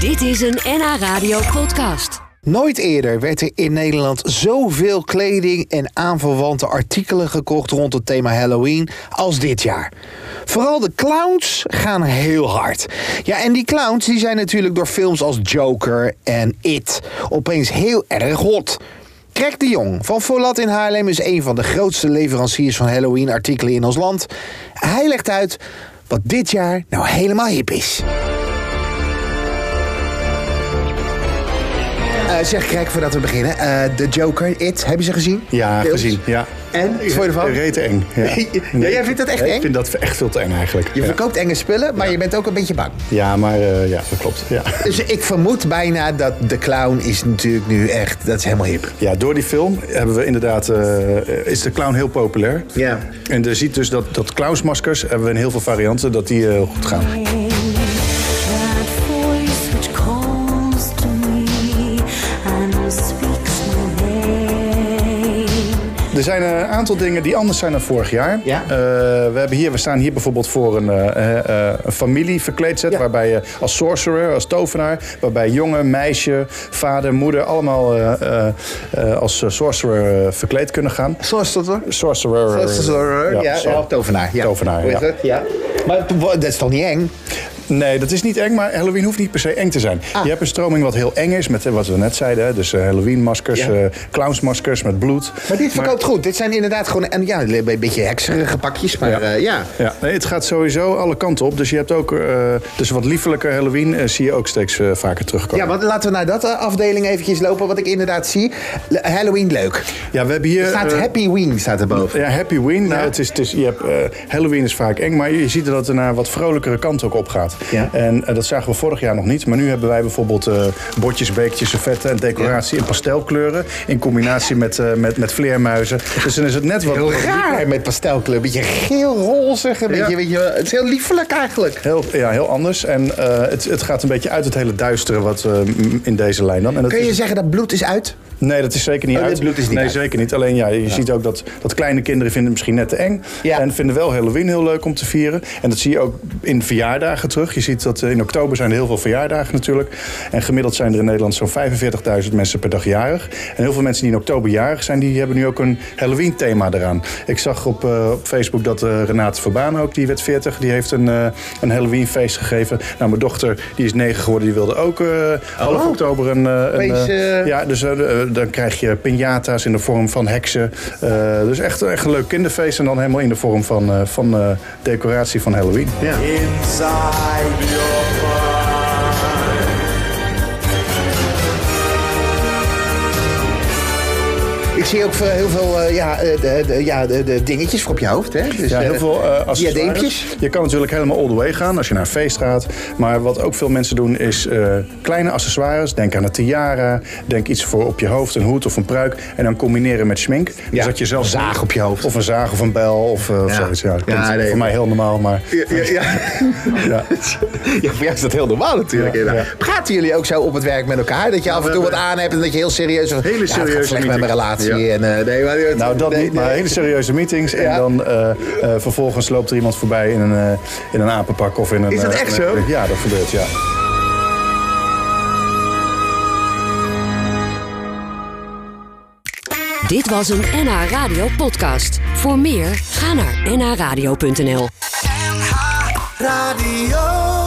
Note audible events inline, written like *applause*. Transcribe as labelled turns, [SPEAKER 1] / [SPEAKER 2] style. [SPEAKER 1] Dit is een NH Radio podcast.
[SPEAKER 2] Nooit eerder werd er in Nederland zoveel kleding en aanverwante artikelen gekocht rond het thema Halloween als dit jaar. Vooral de clowns gaan heel hard. Ja, en die clowns die zijn natuurlijk door films als Joker en It opeens heel erg hot. Trek de Jong van Volat in Haarlem is een van de grootste leveranciers van Halloween-artikelen in ons land. Hij legt uit wat dit jaar nou helemaal hip is. Eh, zeg, Krek, voordat we beginnen. eh, de Joker, It, heb je ze gezien?
[SPEAKER 3] Ja,
[SPEAKER 2] Deels?
[SPEAKER 3] gezien. Ja.
[SPEAKER 2] En? Wat vond je ervan?
[SPEAKER 3] Reet eng.
[SPEAKER 2] *laughs*
[SPEAKER 3] Ja.
[SPEAKER 2] Ja, jij vindt dat echt eng?
[SPEAKER 3] Ik vind dat echt veel te eng eigenlijk.
[SPEAKER 2] Je
[SPEAKER 3] ja.
[SPEAKER 2] verkoopt enge spullen, maar je bent ook een beetje bang.
[SPEAKER 3] ja, maar eh, ja, dat klopt.
[SPEAKER 2] *laughs*
[SPEAKER 3] Ja.
[SPEAKER 2] Dus ik vermoed bijna dat de clown is natuurlijk nu echt... Dat is helemaal hip.
[SPEAKER 3] ja, door die film hebben we inderdaad, eh, is de clown heel populair.
[SPEAKER 2] Ja.
[SPEAKER 3] En je ziet dus dat, dat clownsmaskers hebben we in heel veel varianten, dat die eh, heel goed gaan.
[SPEAKER 4] That voice which calls to me and speaks my name.
[SPEAKER 3] Er zijn een aantal dingen die anders zijn dan vorig jaar.
[SPEAKER 2] Ja.
[SPEAKER 3] Eh, we, hebben hier, we staan hier bijvoorbeeld voor een, eh, eh, een familie verkleed zet.
[SPEAKER 2] Ja.
[SPEAKER 3] Waarbij je als sorcerer, als tovenaar. Waarbij jongen, meisje, vader, moeder. allemaal eh, eh, eh, als eh, sorcerer eh, verkleed kunnen gaan.
[SPEAKER 2] Zoals dat hoor.
[SPEAKER 3] Sorcerer.
[SPEAKER 2] Ja, ja,
[SPEAKER 3] sorry.
[SPEAKER 2] tovenaar. Ja.
[SPEAKER 3] Tovenaar,
[SPEAKER 2] Hoe is
[SPEAKER 3] ja.
[SPEAKER 2] dat? ja. Maar dat is toch niet eng?
[SPEAKER 3] Nee, dat is niet eng, maar Halloween hoeft niet per se eng te zijn.
[SPEAKER 2] Ah.
[SPEAKER 3] Je hebt een stroming wat heel eng is, met eh, wat we net zeiden. hè, Dus eh, Halloween-maskers,
[SPEAKER 2] Ja.
[SPEAKER 3] eh, clownsmaskers met bloed.
[SPEAKER 2] Maar dit verkoopt goed. Dit zijn inderdaad gewoon en ja, een beetje hekserige pakjes. Maar ja. ja.
[SPEAKER 3] Ja, nee, het gaat sowieso alle kanten op. Dus je hebt ook, eh, dus wat liefelijker Halloween eh, zie je ook steeds eh, vaker terugkomen.
[SPEAKER 2] ja, want laten we naar dat eh, afdeling eventjes lopen. Wat ik inderdaad zie. Le- Halloween leuk.
[SPEAKER 3] Ja, we hebben hier...
[SPEAKER 2] Er staat
[SPEAKER 3] eh,
[SPEAKER 2] Happy Wing staat erboven.
[SPEAKER 3] ja, Happy Ween. Nou,
[SPEAKER 2] Ja.
[SPEAKER 3] het is, het is, je hebt, eh, Halloween is vaak eng, maar je ziet dat er naar een wat vrolijkere kant ook op gaat.
[SPEAKER 2] Ja.
[SPEAKER 3] En eh, dat zagen we vorig jaar nog niet. Maar nu hebben wij bijvoorbeeld eh, bordjes, beekjes, servetten en decoratie in pastelkleuren. In combinatie met, eh, met, met vleermuizen. Dus dan is het net wat...
[SPEAKER 2] Heel
[SPEAKER 3] wat
[SPEAKER 2] raar met pastelkleur. Beetje geel rozig. Een beetje,
[SPEAKER 3] Ja.
[SPEAKER 2] weet je, wel, het is heel liefelijk eigenlijk.
[SPEAKER 3] Heel, ja, heel anders. En eh, het, het gaat een beetje uit het hele duistere wat eh, m- in deze lijn dan. En dat
[SPEAKER 2] Kun
[SPEAKER 3] is-
[SPEAKER 2] je zeggen dat bloed is uit?
[SPEAKER 3] Nee, dat is zeker niet
[SPEAKER 2] Oh, dit
[SPEAKER 3] uit.
[SPEAKER 2] bloed is niet
[SPEAKER 3] nee,
[SPEAKER 2] uit.
[SPEAKER 3] zeker niet. Alleen ja, je ziet ook dat, dat kleine kinderen vinden het misschien net te eng.
[SPEAKER 2] Ja.
[SPEAKER 3] En vinden wel Halloween heel leuk om te vieren. En dat zie je ook in verjaardagen terug. Je ziet dat eh, in oktober zijn er heel veel verjaardagen natuurlijk. En gemiddeld zijn er in Nederland zo'n 45.000 mensen per dag jarig. En heel veel mensen die in oktober jarig zijn, die hebben nu ook een Halloween thema eraan. Ik zag op, eh, op Facebook dat eh Renate Verbaan ook, die werd 40, die heeft een, eh, een Halloween feest gegeven. Nou, mijn dochter, die is 9 geworden, die wilde ook eh,
[SPEAKER 2] Oh.
[SPEAKER 3] half oktober een, eh, een,
[SPEAKER 2] Opeens,
[SPEAKER 3] eh,
[SPEAKER 2] eh,
[SPEAKER 3] ja, dus eh, eh, dan krijg je pinata's in de vorm van heksen. Eh, dus echt, echt een leuk kinderfeest en dan helemaal in de vorm van, eh, van eh, decoratie van Halloween.
[SPEAKER 2] Ja.
[SPEAKER 5] inside your mind.
[SPEAKER 2] Ik zie ook eh, heel veel eh, ja, eh, de, de- ja, de, de dingetjes voor op je hoofd. Hè? Dus,
[SPEAKER 3] Ja, heel
[SPEAKER 2] eh,
[SPEAKER 3] veel eh, accessoires.
[SPEAKER 2] diadeempjes.
[SPEAKER 3] Je kan natuurlijk helemaal all the way gaan als je naar een feest gaat. Maar wat ook veel mensen doen is eh, kleine accessoires. Denk aan een tiara. Denk iets voor op je hoofd, een hoed of een pruik. En dan combineren met schmink.
[SPEAKER 2] Ja,
[SPEAKER 3] Dus dat je zelf
[SPEAKER 2] een zaag op je hoofd.
[SPEAKER 3] Of een zaag of een bel of, eh, of
[SPEAKER 2] Ja.
[SPEAKER 3] zoiets. Ja, dat
[SPEAKER 2] Ja,
[SPEAKER 3] klinkt
[SPEAKER 2] nee.
[SPEAKER 3] voor mij heel normaal, maar...
[SPEAKER 2] Ja, ja, ja.
[SPEAKER 3] Ja.
[SPEAKER 2] *laughs* ja, voor jou is dat heel normaal natuurlijk.
[SPEAKER 3] Ja,
[SPEAKER 2] Ja,
[SPEAKER 3] ja.
[SPEAKER 2] Praten jullie ook zo op het werk met elkaar? Dat je af en toe wat
[SPEAKER 3] hebben-
[SPEAKER 2] aan hebt en dat je heel serieus... Hele ja, het gaat
[SPEAKER 3] serieuze
[SPEAKER 2] slecht met mijn
[SPEAKER 3] meetings.
[SPEAKER 2] relatie. En, eh, nee, maar,
[SPEAKER 3] Nou, dat
[SPEAKER 2] nee,
[SPEAKER 3] niet, maar
[SPEAKER 2] nee.
[SPEAKER 3] hele serieuze meetings. En
[SPEAKER 2] Ja.
[SPEAKER 3] dan eh, eh, vervolgens loopt er iemand voorbij in een, eh, in een apenpak of in een...
[SPEAKER 2] Is dat
[SPEAKER 3] eh,
[SPEAKER 2] echt
[SPEAKER 3] een-
[SPEAKER 2] zo?
[SPEAKER 3] Ja, dat gebeurt, ja.
[SPEAKER 1] Dit was een NH Radio podcast. Voor meer, ga naar nhradio.nl.
[SPEAKER 5] Radio.